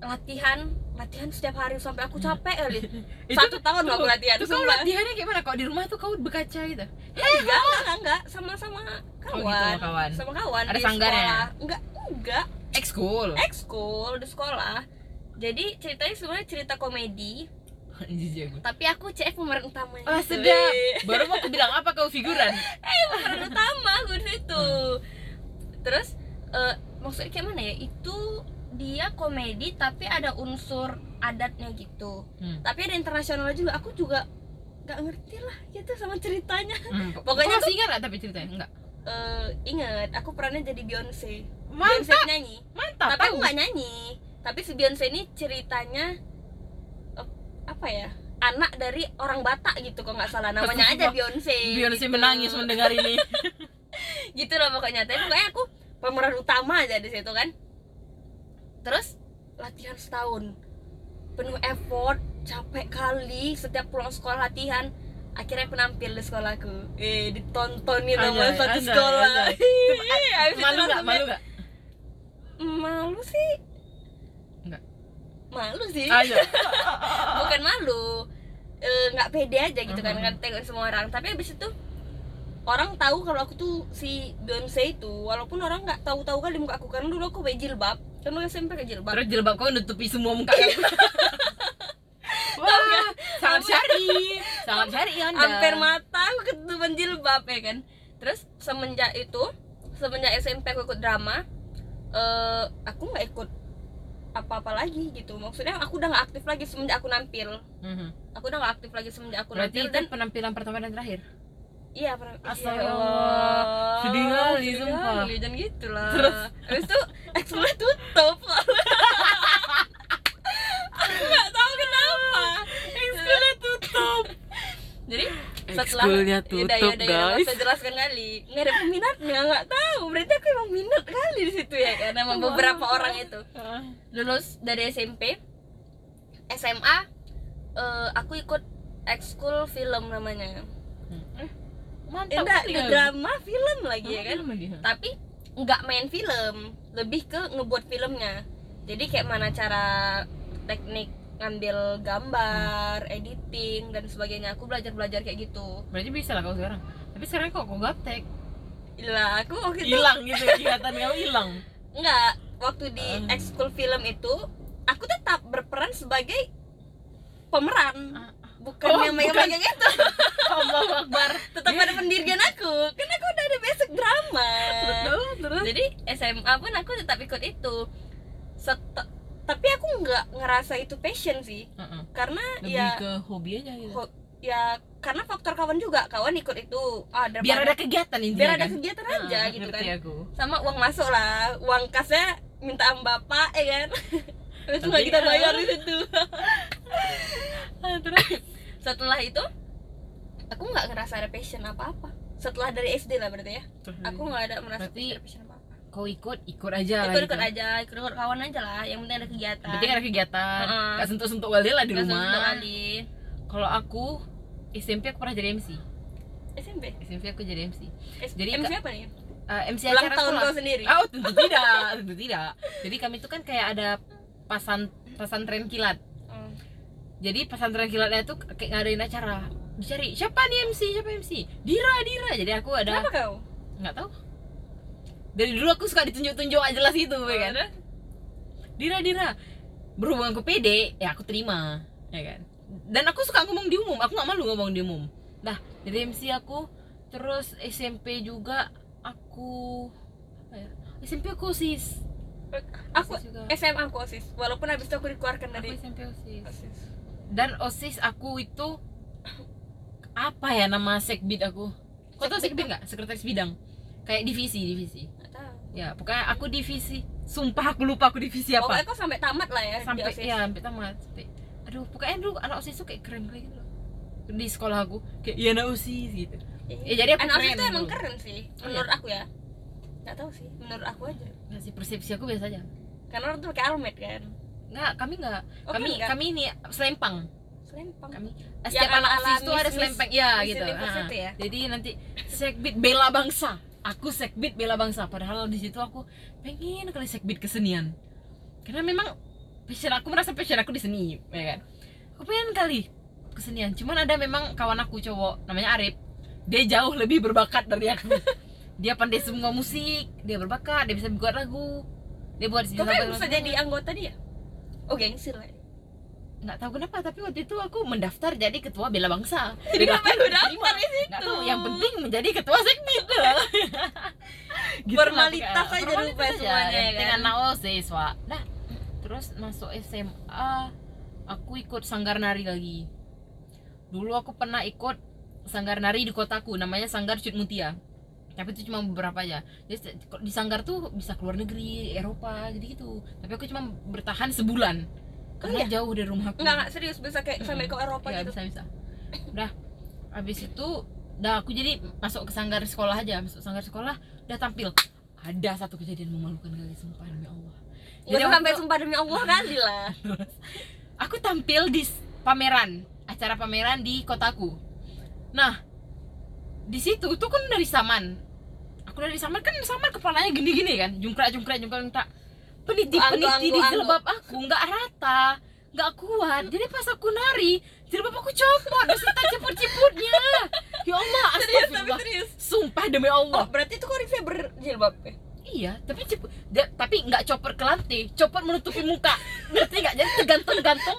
[SPEAKER 1] latihan latihan setiap hari sampai
[SPEAKER 2] Hmm.
[SPEAKER 1] aku capek
[SPEAKER 2] *laughs*
[SPEAKER 1] kali Eh,
[SPEAKER 2] Itu
[SPEAKER 1] satu tahun aku
[SPEAKER 2] tuh,
[SPEAKER 1] latihan
[SPEAKER 2] Terus kau
[SPEAKER 1] sumpah.
[SPEAKER 2] latihannya kayak mana? Kok di rumah tuh kau berkaca gitu?
[SPEAKER 1] enggak enggak enggak sama-sama
[SPEAKER 2] Oh,
[SPEAKER 1] kawan,
[SPEAKER 2] gitu, kawan.
[SPEAKER 1] sama kawan
[SPEAKER 2] Ada ya?
[SPEAKER 1] di
[SPEAKER 2] sanggarnya?
[SPEAKER 1] sekolah enggak enggak
[SPEAKER 2] Ekskul.
[SPEAKER 1] ekskul di sekolah jadi ceritanya sebenarnya cerita komedi
[SPEAKER 2] Jijik gue.
[SPEAKER 1] tapi aku CF pemeran utamanya
[SPEAKER 2] Wah Ah, Oh, sedap. Baru mau aku bilang apa kau figuran?
[SPEAKER 1] pemeran utama aku di situ terus eh, maksudnya kayak mana ya itu dia komedi tapi ada unsur adatnya gitu
[SPEAKER 2] Hmm.
[SPEAKER 1] tapi ada internasional juga aku juga nggak ngerti lah gitu sama ceritanya
[SPEAKER 2] Hmm.
[SPEAKER 1] Pokoknya
[SPEAKER 2] Kau masih ingat nggak tapi ceritanya? Enggak.
[SPEAKER 1] Eh, ingat aku perannya jadi Beyonce Beyonce
[SPEAKER 2] Mantap,
[SPEAKER 1] nyanyi
[SPEAKER 2] mantap.
[SPEAKER 1] tapi aku
[SPEAKER 2] bagus.
[SPEAKER 1] nggak nyanyi tapi si Beyonce ini ceritanya eh, apa ya anak dari orang Batak gitu kok nggak salah namanya aja Beyonce
[SPEAKER 2] Beyonce
[SPEAKER 1] gitu.
[SPEAKER 2] menangis mendengar *laughs* ini.
[SPEAKER 1] gitu loh pokoknya tapi pokoknya aku pemeran utama aja di situ kan terus latihan setahun penuh effort capek kali setiap pulang sekolah latihan akhirnya penampil di sekolahku eh ditontonin sama
[SPEAKER 2] Anjay,
[SPEAKER 1] satu
[SPEAKER 2] anjay,
[SPEAKER 1] sekolah
[SPEAKER 2] anjay.
[SPEAKER 1] Ih, habis *laughs* itu
[SPEAKER 2] Malu nggak?
[SPEAKER 1] langsung
[SPEAKER 2] Malu
[SPEAKER 1] dia,
[SPEAKER 2] nggak?
[SPEAKER 1] malu sih
[SPEAKER 2] Nggak.
[SPEAKER 1] malu sih
[SPEAKER 2] Ayo.
[SPEAKER 1] bukan malu Eh, nggak pede aja gitu kan
[SPEAKER 2] Mhm.
[SPEAKER 1] kan tengok semua orang tapi abis itu orang tahu kalau aku tuh si Beyonce itu walaupun orang nggak tahu-tahu kali muka aku karena dulu aku pakai jilbab Kan karena SMP pakai jilbab
[SPEAKER 2] Terus jilbab kau nutupi semua muka
[SPEAKER 1] Iya.
[SPEAKER 2] kamu. *laughs* Wah, sangat syari, sangat syari anda.
[SPEAKER 1] Kan hampir mata aku ketutupan jilbab ya kan terus semenjak itu semenjak SMP aku ikut drama eh aku nggak ikut apa-apa lagi gitu maksudnya aku udah nggak aktif lagi semenjak aku nampil
[SPEAKER 2] Mhm.
[SPEAKER 1] aku udah nggak aktif lagi semenjak aku
[SPEAKER 2] Berarti
[SPEAKER 1] nampil
[SPEAKER 2] itu
[SPEAKER 1] dan
[SPEAKER 2] penampilan pertama dan terakhir.
[SPEAKER 1] Iya pernah.
[SPEAKER 2] Astagfirullah. Sedih kali, sumpah.
[SPEAKER 1] Jangan gitu lah. Terus habis itu ekspor tutup. *laughs* Aku nggak tahu kenapa. Ekskulnya tutup. Jadi setelah
[SPEAKER 2] Ekskulnya
[SPEAKER 1] Yaudah,
[SPEAKER 2] tutup,
[SPEAKER 1] yaudah, yaudah, nggak
[SPEAKER 2] guys.
[SPEAKER 1] usah jelaskan kali. Nggak ada peminatnya, nggak tahu. Berarti aku emang minat kali di situ ya kan sama beberapa orang itu.
[SPEAKER 2] Ah.
[SPEAKER 1] Lulus dari SMP, SMA, eh, aku ikut ekskul film namanya. Eh,
[SPEAKER 2] Mantap.
[SPEAKER 1] enggak,
[SPEAKER 2] sekali
[SPEAKER 1] di
[SPEAKER 2] kamu.
[SPEAKER 1] drama film lagi ya kan
[SPEAKER 2] Sama dia.
[SPEAKER 1] tapi nggak main film lebih ke ngebuat filmnya jadi kayak mana cara teknik ngambil gambar editing dan sebagainya aku belajar belajar kayak gitu
[SPEAKER 2] Berarti bisa lah kau sekarang. Tapi sekarang kok kau gaptek?
[SPEAKER 1] lah aku waktu itu
[SPEAKER 2] *laughs* Hilang gitu kelihatan kau hilang.
[SPEAKER 1] nggak waktu di
[SPEAKER 2] Ah.
[SPEAKER 1] ekskul film itu aku tetap berperan sebagai pemeran
[SPEAKER 2] Ah, ah.
[SPEAKER 1] bukan
[SPEAKER 2] Oh,
[SPEAKER 1] yang megang-megang itu
[SPEAKER 2] Allahu Akbar.
[SPEAKER 1] tetap ada pendirian aku karena aku udah ada basic drama
[SPEAKER 2] Betul, terus.
[SPEAKER 1] jadi SMA pun aku tetap ikut itu Set- tapi aku nggak ngerasa itu passion sih
[SPEAKER 2] Heeh.
[SPEAKER 1] karena
[SPEAKER 2] Lebih
[SPEAKER 1] ya
[SPEAKER 2] ke hobi aja gitu.
[SPEAKER 1] ho- ya karena faktor kawan juga kawan ikut itu ah, daripada-
[SPEAKER 2] Biar ada kegiatan intinya.
[SPEAKER 1] biar ada
[SPEAKER 2] kan?
[SPEAKER 1] kegiatan aja
[SPEAKER 2] Ah,
[SPEAKER 1] gitu kan
[SPEAKER 2] ngerti aku.
[SPEAKER 1] sama uang masuk lah uang kasnya minta am bapak ya kan *laughs* itu
[SPEAKER 2] Tapi
[SPEAKER 1] nggak kita
[SPEAKER 2] ya.
[SPEAKER 1] bayar di situ setelah itu aku nggak ngerasa ada passion apa apa setelah dari SD lah berarti ya
[SPEAKER 2] Terus
[SPEAKER 1] aku nggak ada merasa
[SPEAKER 2] Hmm. Berarti-
[SPEAKER 1] ada passion apa apa
[SPEAKER 2] kau ikut ikut aja lah
[SPEAKER 1] Ya, ikut-ikut
[SPEAKER 2] gitu.
[SPEAKER 1] aja ikut-ikut kawan aja lah yang penting ada kegiatan
[SPEAKER 2] Berarti kan ada kegiatan.
[SPEAKER 1] Heeh.
[SPEAKER 2] Gak sentuh-sentuh wali lah di
[SPEAKER 1] Nggak
[SPEAKER 2] rumah.
[SPEAKER 1] sentuh kali.
[SPEAKER 2] Kalau aku SMP aku pernah jadi MC.
[SPEAKER 1] SMP
[SPEAKER 2] SMP aku jadi MC.
[SPEAKER 1] jadi
[SPEAKER 2] Jadi
[SPEAKER 1] MC
[SPEAKER 2] ka-
[SPEAKER 1] apa nih
[SPEAKER 2] Eh, MC
[SPEAKER 1] ulang
[SPEAKER 2] acara
[SPEAKER 1] tahun
[SPEAKER 2] sekolah.
[SPEAKER 1] kau sendiri
[SPEAKER 2] Oh tentu tidak, tentu tidak. Jadi kami itu kan kayak ada pasan pesantren kilat.
[SPEAKER 1] Hmm.
[SPEAKER 2] Jadi pesantren kilatnya tuh kayak ngadain acara. Dicari siapa nih MC, siapa MC? Dira, Dira. Jadi aku ada
[SPEAKER 1] kenapa kau
[SPEAKER 2] nggak tahu. Dari dulu aku suka ditunjuk-tunjuk aja jelas gitu, ya kan? Dira, Dira. Berhubung aku pede, ya aku terima, ya kan? Dan aku suka ngomong di umum, aku nggak malu ngomong di umum. Nah, jadi MC aku terus SMP juga aku apa ya? SMP aku sis
[SPEAKER 1] aku
[SPEAKER 2] Osis juga.
[SPEAKER 1] SMA aku osis walaupun habis itu aku dikeluarkan
[SPEAKER 2] Aku
[SPEAKER 1] dari
[SPEAKER 2] SMP OSIS.
[SPEAKER 1] osis
[SPEAKER 2] Dan OSIS aku itu apa ya nama sekbid aku? Kau tau sekbid nggak? Sekretaris bidang. Kayak divisi, divisi.
[SPEAKER 1] nggak tahu
[SPEAKER 2] Ya, pokoknya aku divisi. Sumpah aku lupa aku divisi apa.
[SPEAKER 1] pokoknya kau sampai tamat lah ya Oh, kan? di
[SPEAKER 2] sampai
[SPEAKER 1] OSIS.
[SPEAKER 2] ya sampai tamat sampai aduh pokoknya dulu anak osis tuh kayak keren kali gitu loh. di sekolah aku kayak iya anak osis gitu
[SPEAKER 1] Iya.
[SPEAKER 2] ya jadi aku
[SPEAKER 1] anak
[SPEAKER 2] keren
[SPEAKER 1] osis itu emang
[SPEAKER 2] dulu.
[SPEAKER 1] keren sih
[SPEAKER 2] Oh,
[SPEAKER 1] menurut aku ya nggak tahu sih menurut aku aja
[SPEAKER 2] nggak sih persepsi aku biasa aja
[SPEAKER 1] karena orang tuh pakai almet kan
[SPEAKER 2] nggak kami nggak
[SPEAKER 1] Oh,
[SPEAKER 2] kami
[SPEAKER 1] kan nggak?
[SPEAKER 2] kami ini selempang
[SPEAKER 1] selempang
[SPEAKER 2] kami
[SPEAKER 1] Yang
[SPEAKER 2] eh, setiap anak
[SPEAKER 1] ala-ala
[SPEAKER 2] osis tuh ada
[SPEAKER 1] Miss-
[SPEAKER 2] selempang ya
[SPEAKER 1] Miss
[SPEAKER 2] gitu
[SPEAKER 1] Universe
[SPEAKER 2] Ah,
[SPEAKER 1] itu ya?
[SPEAKER 2] jadi nanti sekbid bela bangsa aku sekbid bela bangsa padahal di situ aku pengen kali sekbid kesenian karena memang passion aku merasa passion aku di seni ya kan aku pengen kali kesenian cuman ada memang kawan aku cowok namanya Arif dia jauh lebih berbakat dari
[SPEAKER 1] *laughs*
[SPEAKER 2] aku dia pandai semua musik dia berbakat dia bisa buat lagu dia buat
[SPEAKER 1] kau kan bisa jadi anggota dia oh gengsi lah
[SPEAKER 2] nggak tahu kenapa tapi waktu itu aku mendaftar jadi ketua bela bangsa
[SPEAKER 1] jadi kenapa lu
[SPEAKER 2] Terima.
[SPEAKER 1] daftar ya? di
[SPEAKER 2] nggak
[SPEAKER 1] situ
[SPEAKER 2] tahu yang penting menjadi ketua sekbid loh *laughs* Gitu
[SPEAKER 1] Formalitas
[SPEAKER 2] lah pokoknya.
[SPEAKER 1] aja lupa
[SPEAKER 2] Formalitas aja.
[SPEAKER 1] semuanya,
[SPEAKER 2] Yang penting
[SPEAKER 1] kan?
[SPEAKER 2] anak osis Wak. Dah. terus masuk SMA aku ikut sanggar nari lagi dulu aku pernah ikut sanggar nari di kotaku namanya sanggar Cut Mutia tapi itu cuma beberapa aja jadi se- di sanggar tuh bisa keluar negeri Eropa gitu gitu tapi aku cuma bertahan sebulan karena
[SPEAKER 1] iya?
[SPEAKER 2] jauh dari rumahku
[SPEAKER 1] Enggak, enggak serius bisa kayak sampai ke Eropa
[SPEAKER 2] ya
[SPEAKER 1] gitu.
[SPEAKER 2] bisa bisa udah habis itu udah aku jadi masuk ke sanggar sekolah aja masuk sanggar sekolah udah tampil ada satu kejadian memalukan kali sumpah demi Allah
[SPEAKER 1] Jadi
[SPEAKER 2] waktu
[SPEAKER 1] sampai
[SPEAKER 2] itu
[SPEAKER 1] sumpah demi Allah kali
[SPEAKER 2] *laughs*
[SPEAKER 1] lah.
[SPEAKER 2] aku tampil di s- pameran acara pameran di kotaku nah di situ tuh kan dari saman aku dari saman kan saman kepalanya gini-gini kan jungkrak jungkrak jungkrak jungkrak peniti
[SPEAKER 1] Tuang, tuang,
[SPEAKER 2] peniti di
[SPEAKER 1] tuang,
[SPEAKER 2] jilbab aku nggak rata nggak kuat jadi pas aku nari jilbab aku copot beserta ciput-ciputnya ya Allah
[SPEAKER 1] Serius tapi
[SPEAKER 2] astagfirullah
[SPEAKER 1] serius.
[SPEAKER 2] sumpah demi
[SPEAKER 1] Oh,
[SPEAKER 2] Allah
[SPEAKER 1] berarti itu korifnya berjilbab ya?
[SPEAKER 2] iya tapi cipu- da- tapi nggak copot ke lantai copot menutupi muka ngerti nggak jadi
[SPEAKER 1] *laughs*
[SPEAKER 2] tergantung-gantung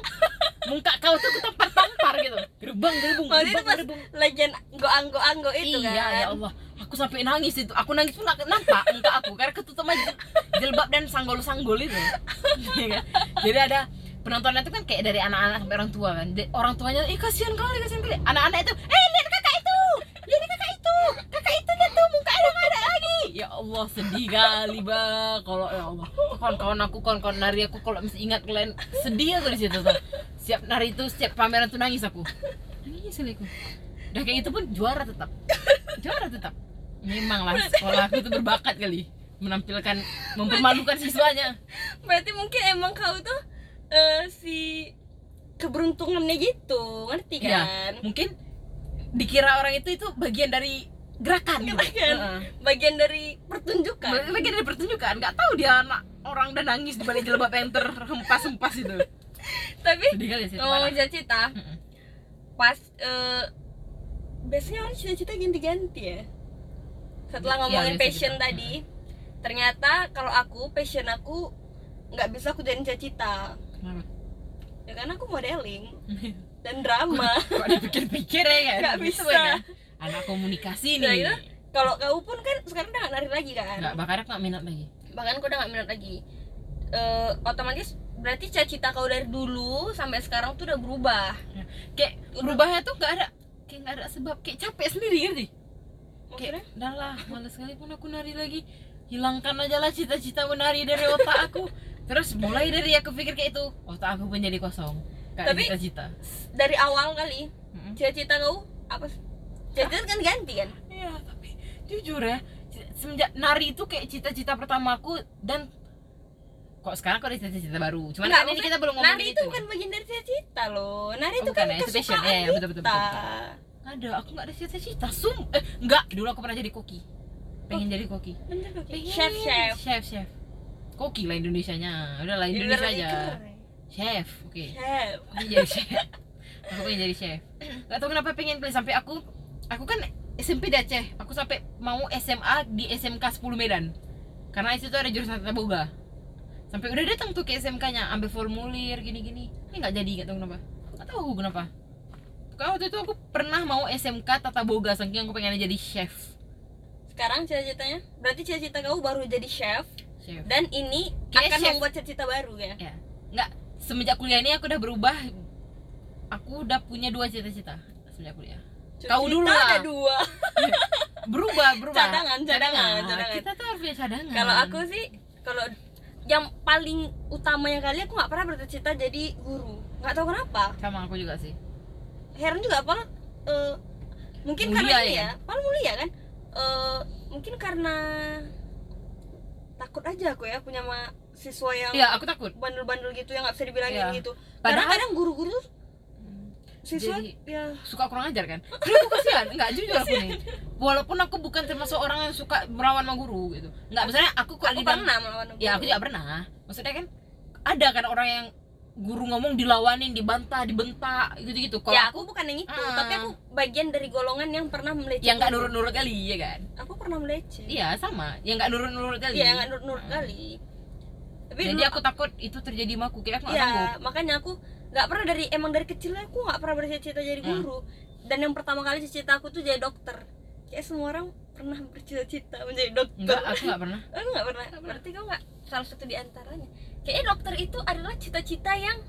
[SPEAKER 2] muka kau tuh ke tampar-tampar gitu gerbang gerbung
[SPEAKER 1] Maksudnya itu
[SPEAKER 2] gerbang
[SPEAKER 1] pas
[SPEAKER 2] gerbung
[SPEAKER 1] legend goang-goang itu
[SPEAKER 2] iya
[SPEAKER 1] kan.
[SPEAKER 2] ya Allah aku sampai nangis itu aku nangis pun nggak nampak muka aku karena ketutup sama jil- jilbab dan sanggol-sanggol itu *laughs* Iya kan? jadi ada penontonnya itu kan kayak dari anak-anak sampai orang tua kan Jadi orang tuanya ih kasihan kali kasihan kali anak-anak itu eh lihat kakak itu lihat kakak itu kakak itu lihat tuh muka ada nggak ada lagi ya Allah sedih kali bah kalau ya Allah kawan-kawan aku kawan-kawan nari aku kalau masih ingat kalian sedih aku di situ tuh siap nari itu setiap pameran tuh nangis aku nangis kali aku udah kayak itu pun juara tetap juara tetap memang lah sekolah aku tuh berbakat kali menampilkan mempermalukan siswanya
[SPEAKER 1] Berarti mungkin emang kau tuh eh, si keberuntungannya gitu, ngerti
[SPEAKER 2] Iya.
[SPEAKER 1] kan?
[SPEAKER 2] mungkin dikira orang itu itu bagian dari gerakan gitu.
[SPEAKER 1] Gerakan.
[SPEAKER 2] Heeh.
[SPEAKER 1] Bagian dari pertunjukan.
[SPEAKER 2] bagian dari pertunjukan nggak tahu dia anak orang dan nangis di balik jilbab yang terhempas-hempas itu
[SPEAKER 1] Tapi oh,
[SPEAKER 2] sedih kali sih itu
[SPEAKER 1] ngomong
[SPEAKER 2] parah.
[SPEAKER 1] cita-cita,
[SPEAKER 2] Mm-mm.
[SPEAKER 1] pas eh, biasanya orang cita-cita ganti-ganti ya. Setelah
[SPEAKER 2] Iya,
[SPEAKER 1] ngomongin
[SPEAKER 2] biasa
[SPEAKER 1] passion
[SPEAKER 2] gitu.
[SPEAKER 1] tadi, ternyata kalau aku passion aku nggak bisa aku jadiin cita-cita.
[SPEAKER 2] Kenapa?
[SPEAKER 1] Ya karena aku modeling dan
[SPEAKER 2] *laughs*
[SPEAKER 1] drama.
[SPEAKER 2] kok dipikir-pikir ya kan
[SPEAKER 1] Nggak
[SPEAKER 2] Gitu
[SPEAKER 1] bisa.
[SPEAKER 2] ya kan? anak komunikasi
[SPEAKER 1] Nah,
[SPEAKER 2] nih
[SPEAKER 1] itu kalau kau pun kan sekarang udah gak nari lagi kan
[SPEAKER 2] nggak bakar nggak minat lagi
[SPEAKER 1] bahkan kau udah gak minat lagi Eh, otomatis berarti cita-cita kau dari dulu sampai sekarang tuh udah berubah
[SPEAKER 2] kayak berubahnya tuh nggak ada kayak nggak ada sebab kayak capek sendiri ngerti
[SPEAKER 1] maksudnya
[SPEAKER 2] kayak dah lah malas sekali pun aku nari lagi hilangkan aja lah cita-cita menari dari otak aku terus mulai dari aku pikir kayak itu otak aku pun jadi kosong gak ada
[SPEAKER 1] Tapi-
[SPEAKER 2] cita-cita
[SPEAKER 1] dari awal kali
[SPEAKER 2] Mm-mm.
[SPEAKER 1] cita-cita kau apa sih? cita-cita kan ganti kan
[SPEAKER 2] Iya, tapi jujur ya, c- semenjak nari itu kayak cita-cita pertamaku dan kok sekarang kok ada cita-cita baru. Cuman
[SPEAKER 1] Nggak,
[SPEAKER 2] kan ini
[SPEAKER 1] maksudnya
[SPEAKER 2] kita belum ngomongin
[SPEAKER 1] nari itu kan-
[SPEAKER 2] itu.
[SPEAKER 1] bukan bagian dari cita-cita loh nari
[SPEAKER 2] Oh,
[SPEAKER 1] itu
[SPEAKER 2] bukan
[SPEAKER 1] kan
[SPEAKER 2] ya, itu passion.
[SPEAKER 1] kesukaan
[SPEAKER 2] Iya, iya, betul, betul,
[SPEAKER 1] kita
[SPEAKER 2] betul, Nggak ada, aku nggak ada cita-cita. Sum, eh nggak. Dulu aku pernah jadi koki. Pengen jadi koki.
[SPEAKER 1] Bener, oke.
[SPEAKER 2] Pengen.
[SPEAKER 1] Oh. chef chef
[SPEAKER 2] Chef, chef. Koki lah Indonesianya. Udah lah
[SPEAKER 1] Jadi
[SPEAKER 2] Indonesia
[SPEAKER 1] lebih
[SPEAKER 2] aja.
[SPEAKER 1] keren.
[SPEAKER 2] Chef, oke.
[SPEAKER 1] chef
[SPEAKER 2] Aku jadi chef aku pengen jadi chef gak tau kenapa pengen pilih sampai aku aku kan SMP di Aceh aku sampai mau SMA di SMK 10 Medan karena itu ada jurusan tata boga sampai udah datang tuh ke SMK nya ambil formulir gini gini ini nggak jadi gak tau kenapa gak tau aku kenapa Pokoknya waktu itu aku pernah mau SMK tata boga saking aku pengen jadi chef
[SPEAKER 1] sekarang cita-citanya berarti cita-cita kau baru jadi chef
[SPEAKER 2] chef
[SPEAKER 1] dan ini
[SPEAKER 2] Kayaknya
[SPEAKER 1] akan
[SPEAKER 2] chef.
[SPEAKER 1] membuat cita-cita baru ya
[SPEAKER 2] ya nggak semenjak kuliah ini aku udah berubah aku udah punya dua cita-cita semenjak kuliah
[SPEAKER 1] Cita
[SPEAKER 2] Kau dulu lah. Hmm.
[SPEAKER 1] ada dua
[SPEAKER 2] berubah berubah
[SPEAKER 1] Cadangan, cadangan, cadangan.
[SPEAKER 2] kita tuh harus punya cadangan
[SPEAKER 1] kalau aku sih kalau yang paling utamanya kali aku nggak pernah bercita-cita jadi guru nggak tahu kenapa
[SPEAKER 2] sama aku juga sih
[SPEAKER 1] heran juga apa eh, mungkin
[SPEAKER 2] Mulia
[SPEAKER 1] karena ini
[SPEAKER 2] ya?
[SPEAKER 1] ya paling mulia kan Eh, mungkin karena takut aja aku ya punya ma- siswa yang
[SPEAKER 2] iya aku takut
[SPEAKER 1] bandel-bandel gitu yang nggak bisa dibilangin
[SPEAKER 2] Iya.
[SPEAKER 1] gitu karena
[SPEAKER 2] Padahal-
[SPEAKER 1] kadang guru-guru tuh siswa
[SPEAKER 2] Jadi-
[SPEAKER 1] ya
[SPEAKER 2] suka kurang ajar kan dulu aku kasihan nggak jujur aku nih walaupun aku bukan termasuk orang yang suka merawan sama guru gitu nggak misalnya aku kok
[SPEAKER 1] aku pernah melawan
[SPEAKER 2] ya aku
[SPEAKER 1] guru.
[SPEAKER 2] juga pernah maksudnya kan ada kan orang yang guru ngomong dilawanin dibantah dibentak gitu gitu kok
[SPEAKER 1] ya aku bukan yang itu
[SPEAKER 2] Ah.
[SPEAKER 1] tapi aku bagian dari golongan yang pernah meleceh
[SPEAKER 2] yang nggak
[SPEAKER 1] guru.
[SPEAKER 2] nurut nurut kali ya kan
[SPEAKER 1] aku pernah meleceh
[SPEAKER 2] iya sama yang nggak nurut nurut kali
[SPEAKER 1] Iya nggak nurut nurut kali. Tapi Tapi
[SPEAKER 2] jadi
[SPEAKER 1] dulu-
[SPEAKER 2] aku takut itu terjadi sama aku kayak aku nggak sanggup
[SPEAKER 1] Iya, makanya aku nggak pernah dari emang dari kecilnya aku nggak pernah bercita-cita jadi
[SPEAKER 2] Hmm.
[SPEAKER 1] guru. Dan yang pertama kali cita-cita aku tuh jadi dokter. Kayak semua orang pernah bercita-cita menjadi dokter.
[SPEAKER 2] enggak aku nggak pernah
[SPEAKER 1] *laughs* Aku nggak pernah. Berarti kau nggak salah satu di antaranya. Kayaknya dokter itu adalah cita-cita yang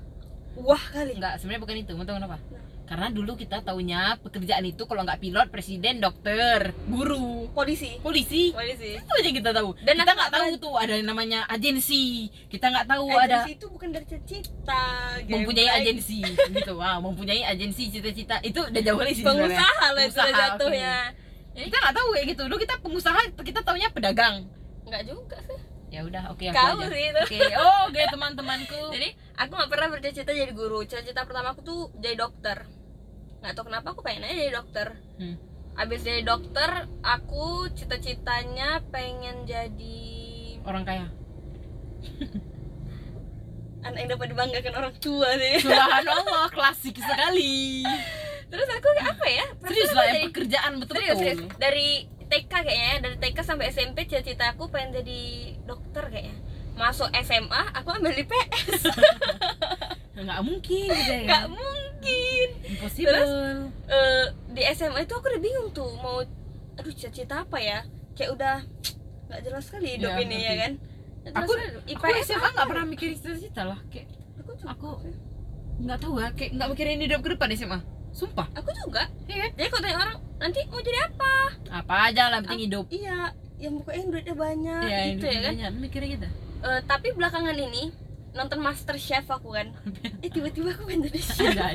[SPEAKER 1] wah kali.
[SPEAKER 2] enggak sebenarnya bukan itu mau tahu kenapa
[SPEAKER 1] Nah.
[SPEAKER 2] karena dulu kita taunya pekerjaan itu kalau nggak pilot presiden dokter guru
[SPEAKER 1] Polisi. Eh,
[SPEAKER 2] polisi
[SPEAKER 1] Polisi.
[SPEAKER 2] itu aja kita tahu
[SPEAKER 1] Dan aku
[SPEAKER 2] kita
[SPEAKER 1] nggak
[SPEAKER 2] nggak tahu tuh ada yang namanya agensi kita nggak tahu ada
[SPEAKER 1] Agensi itu bukan dari cita-cita.
[SPEAKER 2] mempunyai
[SPEAKER 1] geblek.
[SPEAKER 2] agensi gitu wow mempunyai agensi cita-cita itu udah jauh dari sini sebenarnya.
[SPEAKER 1] Pengusaha loh itu
[SPEAKER 2] Pengusaha,
[SPEAKER 1] jatuhnya.
[SPEAKER 2] kita nggak tahu ya gitu dulu kita pengusaha kita taunya pedagang
[SPEAKER 1] Nggak juga sih.
[SPEAKER 2] ya udah oke aku
[SPEAKER 1] Kau
[SPEAKER 2] aja.
[SPEAKER 1] sih itu.
[SPEAKER 2] oke oh oke teman-temanku
[SPEAKER 1] jadi aku nggak pernah bercita-cita jadi guru cita-cita pertama aku tuh jadi dokter nggak tahu kenapa aku pengen aja jadi dokter
[SPEAKER 2] Hmm.
[SPEAKER 1] abis jadi dokter aku cita-citanya pengen jadi
[SPEAKER 2] orang kaya
[SPEAKER 1] anak yang dapat dibanggakan orang tua sih *laughs*
[SPEAKER 2] subhanallah *laughs* klasik sekali
[SPEAKER 1] terus aku kayak apa ya Perasaan
[SPEAKER 2] serius
[SPEAKER 1] aku
[SPEAKER 2] lah
[SPEAKER 1] dari,
[SPEAKER 2] yang pekerjaan
[SPEAKER 1] serius, serius.
[SPEAKER 2] betul-betul
[SPEAKER 1] dari TK kayaknya ya, dari TK sampai SMP cita-cita aku pengen jadi dokter kayaknya masuk SMA aku ambil IPS
[SPEAKER 2] nggak mungkin gitu ya
[SPEAKER 1] nggak mungkin
[SPEAKER 2] impossible
[SPEAKER 1] eh, di SMA itu aku udah bingung tuh mau aduh cita-cita apa ya kayak udah nggak jelas sekali hidup
[SPEAKER 2] Iya,
[SPEAKER 1] ini
[SPEAKER 2] ngerti.
[SPEAKER 1] ya kan
[SPEAKER 2] Aku- aku
[SPEAKER 1] IPS
[SPEAKER 2] SMA nggak pernah mikirin cita-cita lah kayak
[SPEAKER 1] aku juga
[SPEAKER 2] aku nggak tahu ya kayak nggak mikirin hidup ke depan SMA sumpah
[SPEAKER 1] aku juga
[SPEAKER 2] Iya kan?
[SPEAKER 1] jadi kalau tanya orang nanti mau jadi apa
[SPEAKER 2] apa aja lah penting hidup
[SPEAKER 1] iya yang pokoknya duitnya
[SPEAKER 2] Iya,
[SPEAKER 1] banyak gitu ya kan
[SPEAKER 2] ah, kan mikirnya *laughs* gitu
[SPEAKER 1] Eh, tapi belakangan ini nonton Master Chef aku
[SPEAKER 2] *laughs*
[SPEAKER 1] kan eh tiba-tiba aku pengen jadi chef
[SPEAKER 2] Anjay.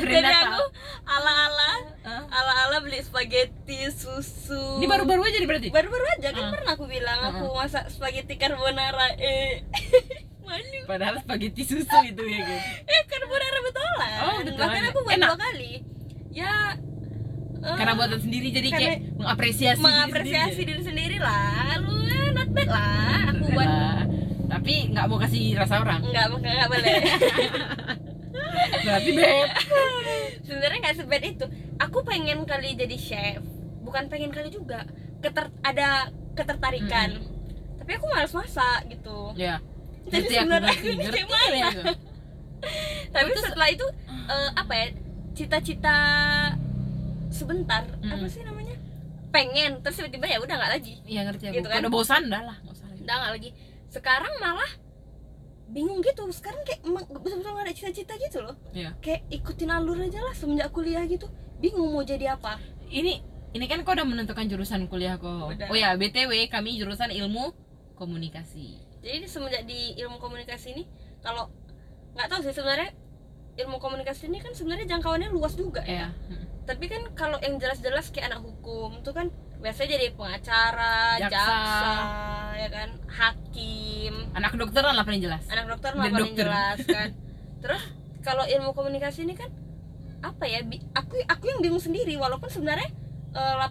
[SPEAKER 1] jadi
[SPEAKER 2] Renata.
[SPEAKER 1] aku ala-ala
[SPEAKER 2] Hah?
[SPEAKER 1] ala-ala beli spaghetti susu
[SPEAKER 2] Ini baru-baru aja nih berarti?
[SPEAKER 1] baru-baru aja kan
[SPEAKER 2] Ah.
[SPEAKER 1] pernah aku bilang
[SPEAKER 2] Ah,
[SPEAKER 1] aku masak spaghetti carbonara eh *laughs* malu
[SPEAKER 2] Padahal spaghetti susu itu ya kan.
[SPEAKER 1] eh carbonara betulan
[SPEAKER 2] Oh, betulan.
[SPEAKER 1] bahkan aku buat
[SPEAKER 2] Enak.
[SPEAKER 1] dua kali ya eh,
[SPEAKER 2] Karena buatan sendiri jadi kayak mengapresiasi diri
[SPEAKER 1] mengapresiasi
[SPEAKER 2] sendiri.
[SPEAKER 1] diri sendiri lah lu eh, not bad lah aku buat
[SPEAKER 2] Lah, Ah, tapi nggak mau kasih rasa orang.
[SPEAKER 1] nggak nggak nggak boleh *laughs*
[SPEAKER 2] Berarti beb.
[SPEAKER 1] sebenarnya nggak sebet itu aku pengen kali jadi chef bukan pengen kali juga Keter ada ketertarikan tapi aku malas masak gitu
[SPEAKER 2] Ya.
[SPEAKER 1] jadi
[SPEAKER 2] Ngerti aku
[SPEAKER 1] sebenarnya aku
[SPEAKER 2] ngerti.
[SPEAKER 1] ini
[SPEAKER 2] Ngerti
[SPEAKER 1] kayak mana
[SPEAKER 2] ya. aku.
[SPEAKER 1] tapi setelah itu eh, apa ya cita-cita sebentar apa
[SPEAKER 2] Mm-mm.
[SPEAKER 1] sih namanya pengen terus tiba-tiba ya udah nggak lagi
[SPEAKER 2] Iya ngerti aku.
[SPEAKER 1] Gitu kan?
[SPEAKER 2] Udah bosan dah lah. nggak usah lagi.
[SPEAKER 1] udah nggak lagi sekarang malah bingung gitu sekarang kayak emang betul-betul nggak ada cita-cita gitu loh
[SPEAKER 2] Iya.
[SPEAKER 1] kayak ikutin alur aja lah semenjak kuliah gitu bingung mau jadi apa
[SPEAKER 2] Ini ini kan kau udah menentukan jurusan kuliah kok.
[SPEAKER 1] Udah.
[SPEAKER 2] Oh ya, BTW kami jurusan ilmu komunikasi.
[SPEAKER 1] jadi semenjak di ilmu komunikasi ini kalau nggak tahu sih sebenarnya ilmu komunikasi ini kan sebenarnya jangkauannya luas juga ya
[SPEAKER 2] Ya.
[SPEAKER 1] tapi kan kalau yang jelas-jelas kayak anak hukum tuh kan biasanya jadi pengacara
[SPEAKER 2] Jaksa.
[SPEAKER 1] jaksa, ya kan hakim
[SPEAKER 2] Anak kedokteran lah paling jelas.
[SPEAKER 1] anak dokter
[SPEAKER 2] Dan
[SPEAKER 1] mah paling
[SPEAKER 2] dokter. *laughs*
[SPEAKER 1] jelas kan terus kalau ilmu komunikasi ini kan apa ya bi- aku aku yang bingung sendiri walaupun sebenarnya eh,